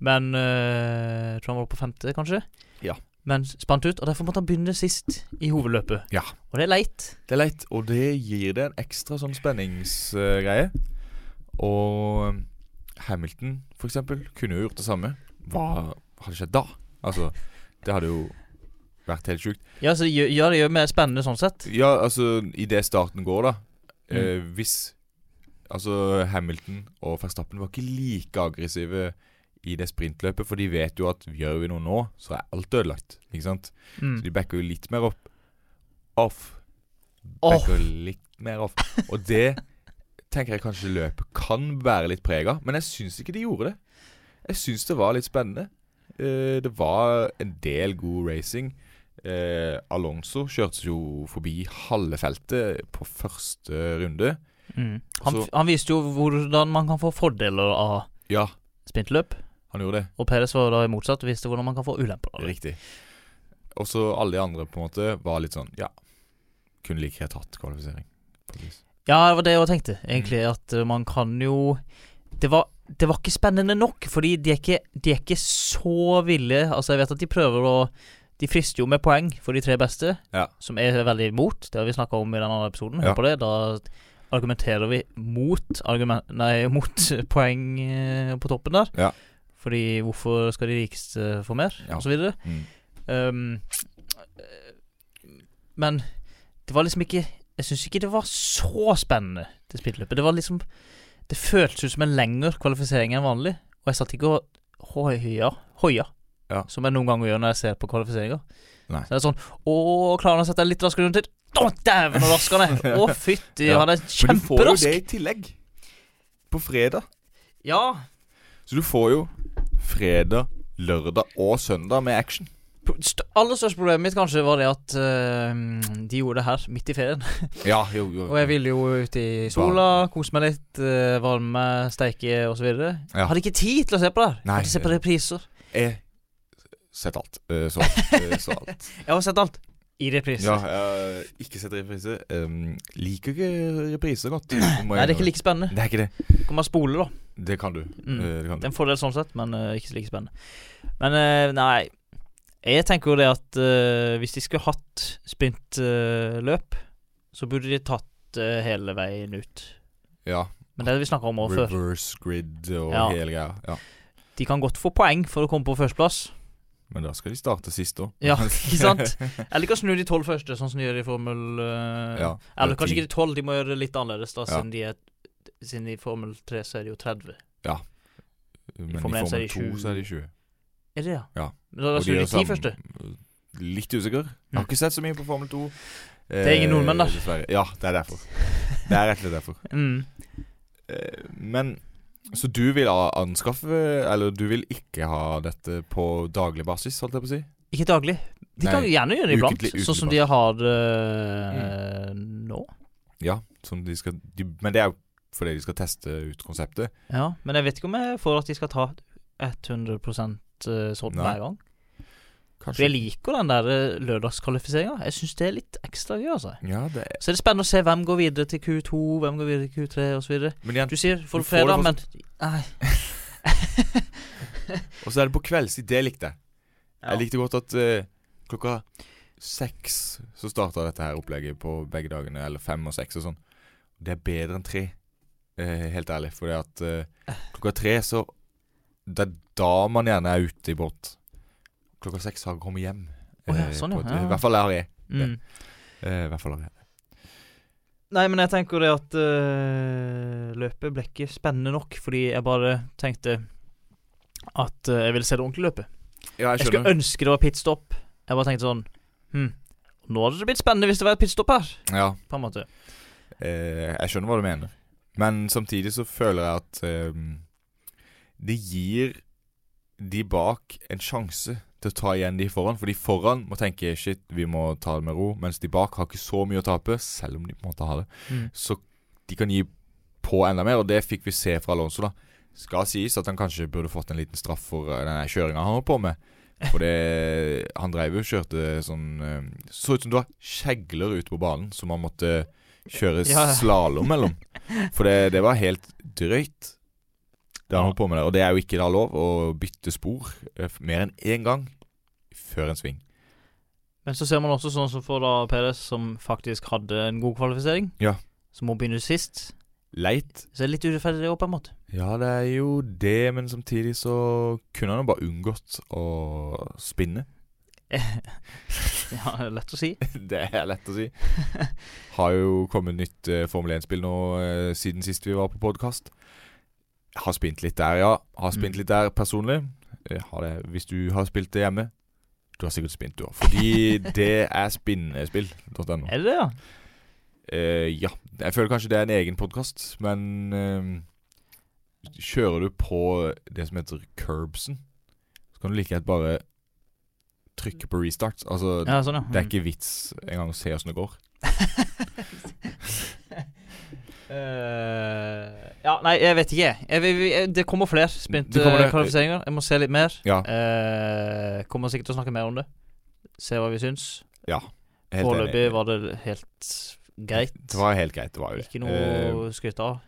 Men eh, Jeg tror han var på femte, kanskje. Ja. Men spant ut, og derfor måtte han begynne sist i hovedløpet. Ja. Og det er leit. Det er leit, og det gir det en ekstra sånn spenningsgreie. Og um, Hamilton, for eksempel, kunne jo gjort det samme. Hva hadde skjedd da? Altså, det hadde jo vært helt sjukt. Ja, så det gjør, ja, det gjør mer spennende sånn sett. Ja, altså, idet starten går, da. Mm. Eh, hvis Altså, Hamilton og Verstappen var ikke like aggressive i det sprintløpet, for de vet jo at gjør vi noe nå, så er alt ødelagt. Ikke sant? Så Mm. de backer jo litt mer opp. Off. Off. Backer litt mer off. Og det tenker jeg kanskje løpet kan bære litt preg av, men jeg syns ikke de gjorde det. Jeg syns det var litt spennende. Eh, det var en del god racing. Eh, Alonso kjørte jo forbi halve feltet på første runde. Mm. Han, Så- han viste jo hvordan man kan få fordeler av Ja, sprintløp, han gjorde det. og Perez var da i motsatt og viste hvordan man kan få ulemper av det. Riktig. Og så alle de andre på en måte var litt sånn Ja, kunne like gjerne tatt kvalifisering. på et vis. Ja, det var det jeg også tenkte, egentlig. Mm. At eh, man kan jo det var, det var ikke spennende nok, fordi de er ikke, de er ikke så ville. Altså, jeg vet at de prøver å De frister jo med poeng for de tre beste, Ja. som er veldig imot. Det har vi snakka om i den andre episoden. Hør Ja. på det. Da argumenterer vi mot, argument, nei, mot (laughs) poeng eh, på toppen der. Ja. Fordi hvorfor skal de rikeste få mer, Ja. og så videre. Mm. Um, eh, men det var liksom ikke Jeg syns ikke det var så spennende, det spilløpet. Det var liksom Det føltes ut som en lengre kvalifisering enn vanlig. Og jeg satt ikke og hoia, hoia Ja. som jeg noen ganger gjør når jeg ser på kvalifiseringer. Nei. Så det er sånn Å, klarer han å sette litt raskere rundt til? Å, dæven og rask han er! Å, fytti, Ja. han er Men du får jo det kjemperask! i tillegg. På fredag. Ja, Så du får jo fredag, lørdag og søndag med action. Pro- st aller største problemet mitt kanskje var det at eh, de gjorde det her midt i ferien. Ja, jo, jo. Og jeg ville jo ut i sola, kose meg litt, eh, varme, steike osv. videre Ja. Hadde ikke tid til å se på det. her. Nei. Hadde sett på repriser. Jeg sett alt. eh, Så alt. eh, Så (laughs) alt. Jeg har sett alt i repriser. Ja, eh, ikke sett reprise. Um, liker ikke repriser godt. Nei, det er ikke like spennende. Det er ikke det. Kan man spole, da. Det kan du. Mm. Eh, Det kan Det du. er en fordel sånn sett, men eh, ikke så like spennende. Men eh, nei, jeg tenker jo det at eh, hvis de skulle hatt sprintløp, så burde de tatt eh, hele veien ut. Ja. Men det har vi snakka om òg før. Reverse grid og Ja. hele greia. Ja. De kan godt få poeng for å komme på førsteplass. Men da skal de starte sist òg. (laughs) Ja, ikke sant? Jeg liker å snu de tolv første, sånn som de gjør i Formel eh, Ja, Eller ti. kanskje ikke de tolv, de må gjøre det litt annerledes, da, Ja. siden de er siden i Formel 3 så er det jo 30. Men i Formel Formel én så er 2 de 20. så er de 20. Er det, ja? Ja. Men Da, da Og de skulle er de ti sammen- første. Mm. Litt usikker. Jeg har ikke sett så mye på Formel 2. Det er ingen nordmenn, da. Dessverre. Ja, det er derfor. Det er rett og slett derfor. (laughs) Mm. Eh, Men Så du vil a- anskaffe Eller du vil ikke ha dette på daglig basis, holdt jeg på å si? Ikke daglig. De Nei, kan jo gjerne gjøre det iblant, ukentlig- sånn som ukentlig Mm. de har det eh, nå. Ja. Som de skal, de, men det er jo fordi de skal teste ut konseptet. Ja, Men jeg vet ikke om jeg får at de skal ta 100 eh, sånn Nei. hver gang. For Kanskje. jeg liker den der eh, lørdagskvalifiseringa. Jeg syns det er litt ekstra gøy, altså. Ja, det er, Så er det spennende å se hvem går videre til Q2, hvem går videre til Q3 osv. men igjen, Du sier for Du får det fredag, men Nei. Og så er det på kveldstid. Det likte jeg. Ja. Jeg likte godt at eh, klokka seks så starta dette her opplegget på begge dagene. Eller fem og seks og sånn. Det er bedre enn tre, eh, helt ærlig. Fordi at eh, klokka tre så Det er da man gjerne er ute i båt. Klokka seks har jeg kommet hjem. Å ja, eh, sånn, på ja. et- Ja, ja. I hvert fall der jeg er. Mm. Eh, I hvert fall der jeg er. Nei, men jeg tenker det at øh, løpet ble ikke spennende nok, fordi jeg bare tenkte at øh, jeg ville se det ordentlige løpet. Ja, Jeg, skulle ønske det var pitstop. Jeg bare tenkte sånn Hm, nå hadde det blitt spennende hvis det var et pitstop her, Ja, på en måte. eh, jeg skjønner hva du mener. Men samtidig så føler jeg at eh, det gir de bak en sjanse til å ta igjen de foran. For de foran må tenke shit, vi må ta det med ro. Mens de bak har ikke så mye å tape, selv om de på en måte har det. Mm. Så de kan gi på enda mer, og det fikk vi se fra Alonso, da. Skal sies at han kanskje burde fått en liten straff for eh, denne kjøringa han holdt på med. For det, (laughs) han dreiv jo og kjørte sånn eh, Så ut som det var kjegler ute på banen som han måtte kjøre Ja. slalåm mellom. For det, det var helt drøyt, det han holdt på med der. Og det er jo ikke da lov å bytte spor eh, f- mer enn én gang før en sving. Men så ser man også sånn som for da Perez, som faktisk hadde en god kvalifisering, Ja. som må begynne sist. Leit. Så det er litt urettferdig, det òg, på en måte. (laughs) Ja, det er jo det, men samtidig så kunne han jo bare unngått å spinne. (laughs) ja, lett å si. (laughs) Det er lett å si. Har jo kommet nytt eh, Formel 1-spill nå eh, siden sist vi var på podkast. Har spilt litt der, ja. Har spilt Mm. litt der personlig. Eh, Har det, hvis du har spilt det hjemme. Du har sikkert spilt, du òg. (laughs) Fordi det er spinnespill.no. Er det det, ja? Eh, ja. Jeg føler kanskje det er en egen podkast, men eh, Kjører du på det som heter curbsen, så kan du like gjerne bare trykke på restart. Altså, ja sånn, ja. det er ikke vits engang å se åssen det går. Eh, ja, nei, jeg vet ikke. Jeg, vil- vil- det kommer flere Det kommer det. spintkvalifiseringer. Jeg må se litt mer. Ja, Eh, kommer sikkert til å snakke mer om det. Se hva vi syns. helt Foreløpig enig. var det helt greit. Det var helt greit. det Eh, var jo det. Ikke noe å skryte av. Eh,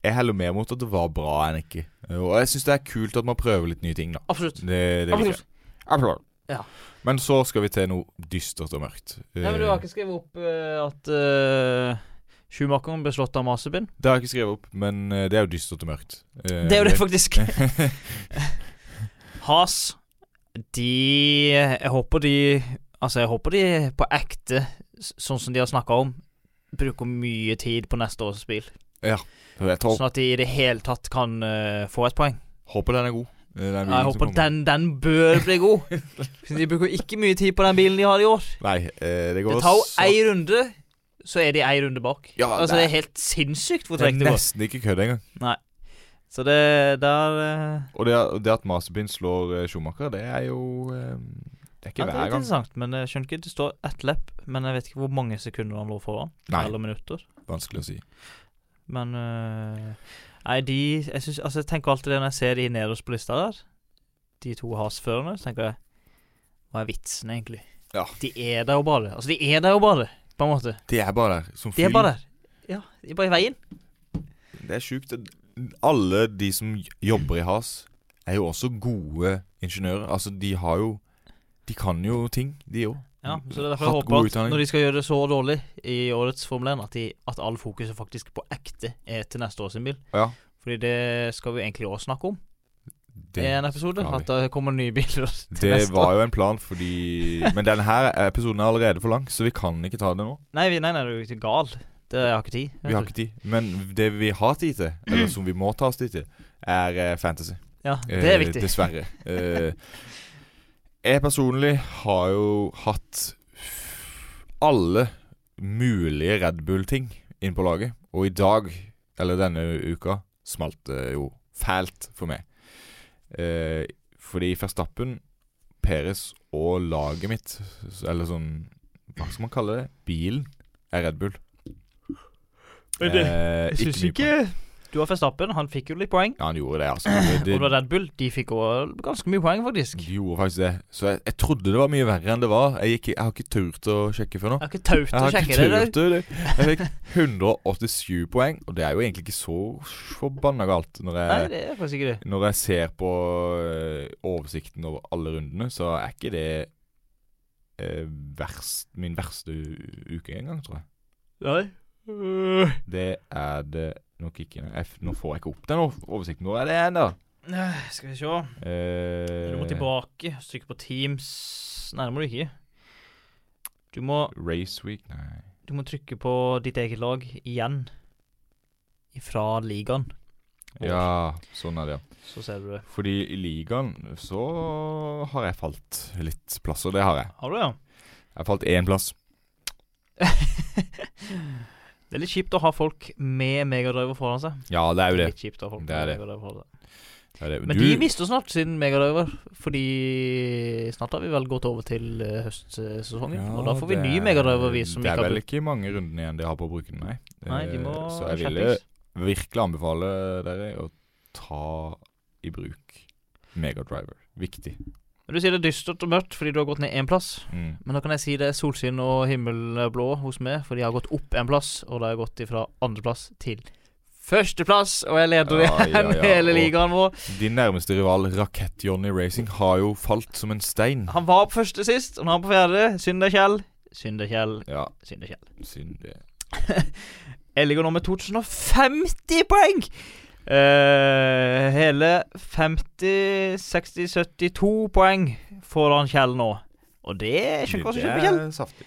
jeg heller mer mot at det var bra enn ikke. Eh, Og jeg syns det er kult at man prøver litt nye ting, da. Absolutt. Det, det liker jeg. Absolutt. Ja. Men så skal vi til noe dystert og mørkt. Nei, men Du har ikke skrevet opp eh, at uh, Schumacheren ble slått av Masebin? Eh, Det har jeg ikke skrevet opp, men eh, det er jo dystert og mørkt. Eh, Det er jo det, faktisk. (laughs) Has, de Jeg håper de Altså, jeg håper de på ekte, s- sånn som de har snakka om, bruker mye tid på neste års spill. Jeg tror, Sånn at de i det hele tatt kan eh, få et poeng. håper den er god. eh, Den bilen jeg som håper kommer. den, den bør bli (laughs) god. de bruker ikke mye tid på den bilen de har i år. Nei, eh, det går Det tar jo så- ei runde, så er de ei runde bak. Ja, altså, det det er- er helt sinnssykt hvor Det er tregt det går. nesten ikke kødd engang. Så det der eh, Og det, det at Maserbin slår eh, Schumacher, det er jo eh, Det ja, Det er er ikke hver litt gang. interessant, men jeg skjønner ikke. Det står ett lepp, men jeg vet ikke hvor mange sekunder han lå foran. Nei. Eller minutter. Vanskelig å si. Men eh, Nei, de jeg, synes, altså, jeg tenker alltid det når jeg ser de nederst på lista der, de to hasførerne, så tenker jeg Hva er vitsen, egentlig? Ja. De er der jo bare. Altså, de er der jo bare, på en måte. De er bare der som De er bare der. Ja, de er bare i veien. Det er sjukt. Alle de som j- jobber i Has, er jo også gode ingeniører. Altså, de har jo De kan jo ting, de òg. Ja, så det er derfor jeg Hatt håper god at utdanning. når de skal gjøre det så dårlig i årets Formel 1, at, de, at all fokuset faktisk på ekte er til neste år sin bil. Ja. Fordi det skal vi egentlig òg snakke om i Det, en episode. skal vi. At det kommer nye biler (laughs) til det neste år. var jo en plan, fordi Men denne her episoden er allerede for lang, så vi kan ikke ta det nå. Nei, vi- nei, nei, du er ikke gal. Det jeg har ikke tid. vet Vi har du. ikke tid. Men det vi har tid til, eller som vi må ta oss tid til, er eh, fantasy. Ja, det er Eh, viktig. Dessverre. Eh, jeg personlig har jo hatt alle mulige Red Bull-ting inn på laget. Og i dag, eller denne uka, smalt det jo fælt for meg. Eh, fordi Verstappen, Peres og laget mitt, s- eller sånn Hva skal man kalle det? Bilen er Red Bull. Men det- Eh, Jeg syns mye ikke Du har Verstappen, han fikk jo litt poeng. Ja, han gjorde det, altså. Det, Og det var Red Bull. De fikk også ganske mye poeng, faktisk. De gjorde faktisk det. Så jeg, jeg trodde det var mye verre enn det var. Jeg, gikk, jeg har ikke turt å sjekke før nå. Jeg har ikke taut Jeg å har sjekke ikke det. det. turt å- det. Jeg fikk 187 poeng, og det er jo egentlig ikke så forbanna galt. Når Nei, jeg, det er faktisk ikke det. når jeg ser på eh, oversikten over alle rundene, så er ikke det eh, verst, min verste u- uke engang, tror jeg. Nei. Øh. Det er det nok ikke. Jeg, f- nå får jeg ikke opp den ov- oversikten. Hvor er det hen, da? Nei, Skal vi se Du må Eh, tilbake. Trykke på Teams Nei, det må du ikke. Du må, race Week? Nei. du må trykke på ditt eget lag igjen. Fra ligaen. Og Ja, sånn er det, ja. Så ser du det. Fordi i ligaen så har jeg falt litt plasser. Det har jeg. Har du, ja? Jeg falt én plass. Det er litt kjipt å ha folk med megadriver foran seg. Ja, det er jo det. Litt kjipt å ha folk Det er med det. megadriver foran seg. det, er det. Men de mister snart sin megadriver, fordi snart har vi vel gått over til eh, høstsesongen. Ja, og da får vi det ny er- megadriver, vi som Det ikke er har vel brukt. ikke mange rundene igjen de har på å bruke den, nei. Nei, de Eh, må så jeg ville skjerpes. virkelig anbefale dere å ta i bruk Megadriver. Viktig. Men Du sier det er dystert og mørkt fordi du har gått ned én plass. Mm. Men da kan jeg si det er solskinn og himmelblå hos meg, for de har gått opp en plass, og da har jeg gått ifra andreplass til førsteplass, og jeg leder Ja, ja, igjen ja, hele og- ligaen vår. Din nærmeste rival, Rakett-Johnny Racing, har jo falt som en stein. Han var på første sist, og nå er han på fjerde. Synd det, Kjell. Synd det, Kjell. Ja, Synd det, Kjell. synd det. Jeg ligger nå med 2050 poeng! Eh, hele 50, 60, 72 poeng foran Kjell nå. Og det er ikke hva som skjer med Kjell. Det er saftig.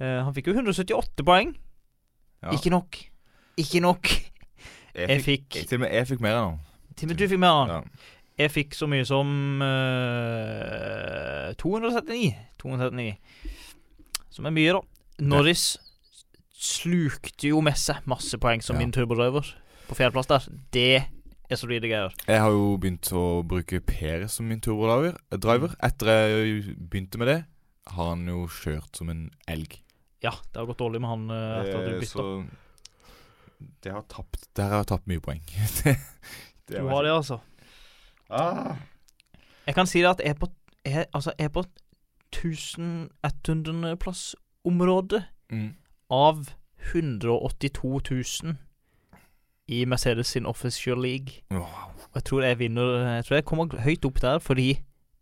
Eh, han fikk jo 178 poeng. Ja. Ikke nok. Ikke nok. Jeg fikk Til og med jeg fikk mer enn han. Timmy, du fikk mer av han. Ja. Jeg fikk så mye som eh, 279. 279. Som er mye, da. Norris slukte jo med seg masse poeng som Ja. min turbodriver på fjerdeplass der. Det er så lite greier. Jeg har jo begynt å bruke Per som min turbodriver. eh, driver. Mm. Etter jeg begynte med det, har han jo kjørt som en elg. Ja, det har gått dårlig med han eh, etter at du Eh, bytta. så det har tapt Der har jeg tapt mye (laughs) poeng. Du har det, altså. Ah. Jeg kan si det at jeg er på, jeg, altså, jeg er på 1100-plass-området Mm. av 182 000 i Mercedes sin official league. Wow. Og jeg tror jeg vinner Jeg tror jeg kommer høyt opp der fordi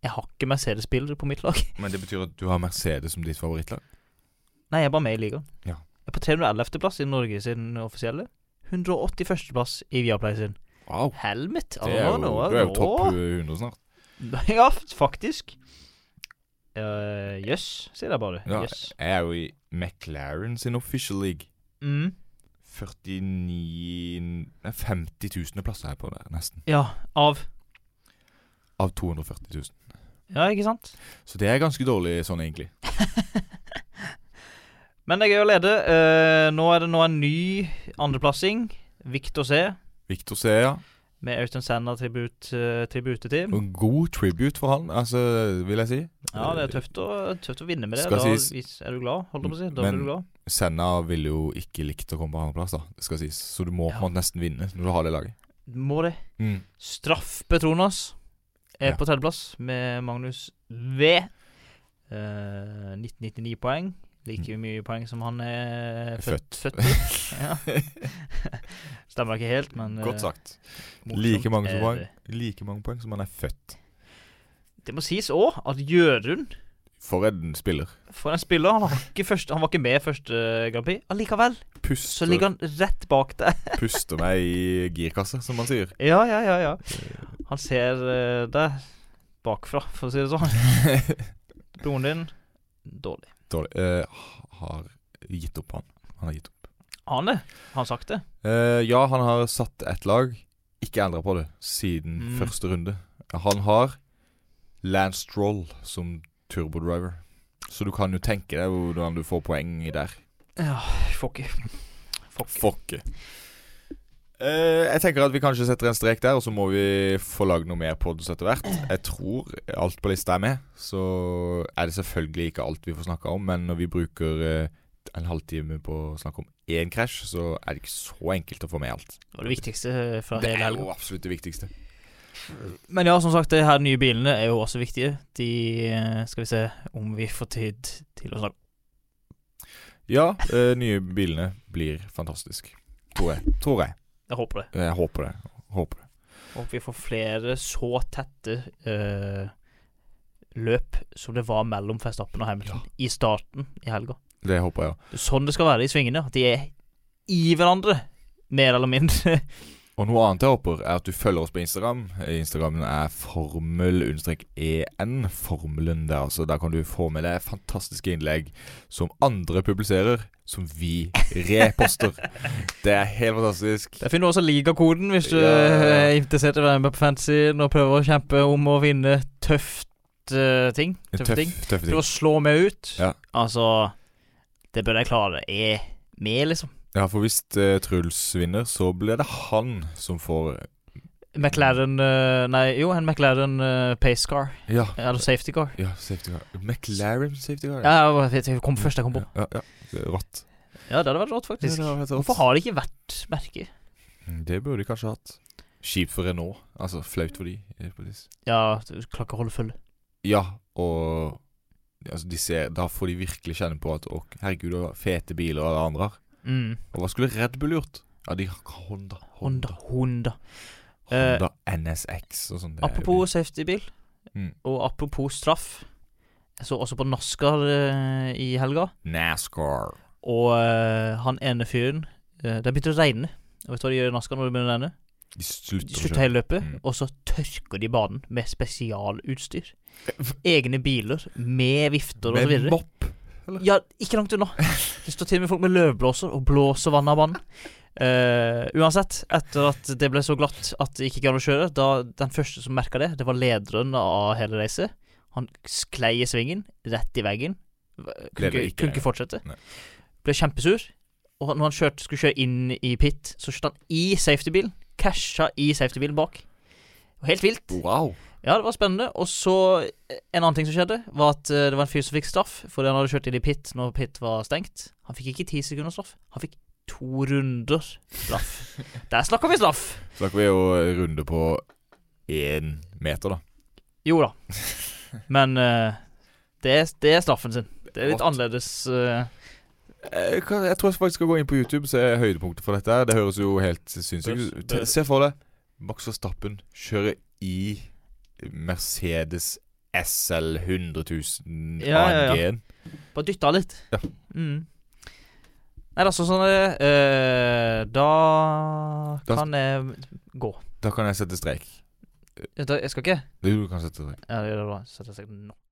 jeg har ikke Mercedes-bilder på mitt lag. (laughs) Men det betyr at du har Mercedes som ditt favorittlag? Nei, jeg er bare med i ligaen. Ja. Jeg er på 311.-plass i Norge sin offisielle. 181.-plass i Viaplay sin. Wow. Helmet! altså, Det er jo, nå, du er jo nå- topp 100 snart. (laughs) Ja, faktisk. Eh, Jøss, sier jeg bare. Ja. Jøss. Jeg er jo i McLaren sin official league. Mm. 49 Nei, 50 000 plass er jeg på der, nesten. Ja, av Av 240 000. Ja, ikke sant? Så det er ganske dårlig sånn, egentlig. Men det er gøy å lede. Eh, nå er det nå en ny andreplassing. Victor C. Victor ser, ja. Med Austin Sander-tribute til. Og En god tribute for han, altså, vil jeg si. Ja, det er tøft å, tøft å vinne med det. Skal da sies- vis- er du glad, holdt jeg på å si. Da Men- blir du glad. Senna ville jo ikke likt å komme på andreplass, da. Det skal sies. Så du må Ja. på en måte nesten vinne når du har det laget. Må det. Mm. Straff Petronas er Ja. på tredjeplass med Magnus V. Eh, 1999 poeng. Like mye poeng som han er født, Mm. Født. født i. Ja. (laughs) Stemmer ikke helt, men eh, Godt sagt. morsomt Eh, Like mange, er som poeng, det. like mange poeng som han er født. Det må sies òg at Jørund, For en spiller. for en spiller Han, har ikke første, han var ikke med første eh, Grand Prix. Allikevel så Puster, ligger han rett bak der. puster meg i girkassa, som man (laughs) sier. Ja, ja, ja, ja. Han ser eh, deg bakfra, for å si det sånn. Broren din dårlig. Dårlig. Eh, har gitt opp han. Han har gitt opp. Ane, har han sagt det? Eh, ja, han har satt ett lag ikke endra på det siden Mm. første runde. Han har Lance Stroll som turbodriver. Så du kan jo tenke deg hvordan du får poeng der. Ja, fuck it. Fuck. Fucke. Eh, jeg tenker at vi kanskje setter en strek der, og så må vi få lagd noe mer pods etter hvert. Jeg tror alt på lista er med. Så er det selvfølgelig ikke alt vi får snakka om, men når vi bruker eh, en halvtime på å snakke om én krasj, så er det ikke så enkelt å få med alt. Det var det viktigste fra Det hele er helga. jo absolutt det viktigste. Men ja, som sagt, de her nye bilene er jo også viktige. De eh, Skal vi se om vi får tid til å snakke Ja, eh, nye bilene blir fantastisk. Tror jeg. Tror jeg. Jeg håper det. Jeg håper det. Håper det. Og vi får flere så tette eh, løp som det var mellom Verstappen og Hamilton i starten i helga. Det håper jeg òg. Det er Sånn det skal være i svingene. At de er i hverandre, mer eller (laughs) mindre. Og noe annet jeg håper, er at du følger oss på Instagram. Instagramen er formel-en. Formelen der, altså. Der kan du få med deg fantastiske innlegg som andre publiserer, som vi (laughs) reposter. Det er helt fantastisk. Der finner du også ligakoden hvis du Ja, ja, ja. er interessert i å være med på fantasyen og prøver å kjempe om å vinne tøft eh, ting. Tøffe ting. Tøff, tøffe Prøv ting. å slå meg ut. Ja. Altså Det bør jeg klare. Jeg er med, liksom. Ja, for hvis eh, Truls vinner, så blir det han som får McLaren eh, Nei, jo, en McLaren eh, pace car. Ja, Eller safety car. ja safety car. McLaren safety car. Ja, jeg var- jeg kom først jeg kom på. Ja, ja, ja. Rått. Ja, det hadde vært rått, faktisk. Hvorfor har det ikke vært merker? Mm, Det burde de kanskje hatt. Kjipt for Renault. Altså, flaut for de. eh, på et vis. Ja, du klarer ikke å holde full. Ja, og altså, de ser, Da får de virkelig kjenne på at å, herregud, det var fete biler alle andre har. Mm. Og hva skulle Red Bull gjort? Ja, de har ikke Honda. Honda, Honda, Honda. Eh, Honda NSX og sånn. det er jo- Apropos safetybil, Mm. og apropos straff. Jeg så også på NASCAR eh, i helga, NASCAR. og eh, han ene fyren eh, Det begynte å regne. Og vet du hva de gjør i NASCAR når det begynner å regne? De slutter De å slutter hele løpet, Mm. og så tørker de banen med spesialutstyr. Egne biler med vifter og så Eh, Med videre. mopp. Ja, ikke langt unna. Det står til og med folk med løvblåser og blåser vannet av banen. Eh, uansett, etter at det ble så glatt at det ikke gikk an å kjøre da Den første som merka det, det var lederen av hele racet. Han sklei i svingen, rett i veggen. Kunne Ble det ikke, ikke- kunne ikke fortsette. Nei. Ble kjempesur. Og når han kjørte, skulle kjøre inn i pit, så kjørte han i safetybilen. Casha i safetybilen bak. Helt vilt. Wow. Ja, det var spennende. Og så eh, en annen ting som skjedde, var at eh, det var en fyr som fikk straff fordi han hadde kjørt inn i pit når pit var stengt. Han fikk ikke ti sekunder straff. Han fikk to runder straff. Der snakker vi straff! Så da kan vi jo runde på én meter, da. Jo da. Men eh, det, er, det er straffen sin. Det er litt Rått. annerledes. eh, Eh, Jeg, kan, jeg tror jeg faktisk skal gå inn på YouTube og se høydepunktet for dette. her. Det høres jo helt sinnssykt ut. Te- Se for deg Max Verstappen kjører i Mercedes SL 100 000 Ja, ja, ja. AMG-en. Bare dytta han litt. Ja. Mm. Nei, altså sånn er det. Eh, da Da- kan jeg gå. Da kan jeg sette strek. Da- Jeg skal ikke? Du kan sette strek. Ja, det gjør det bra. Setter jeg seg nå.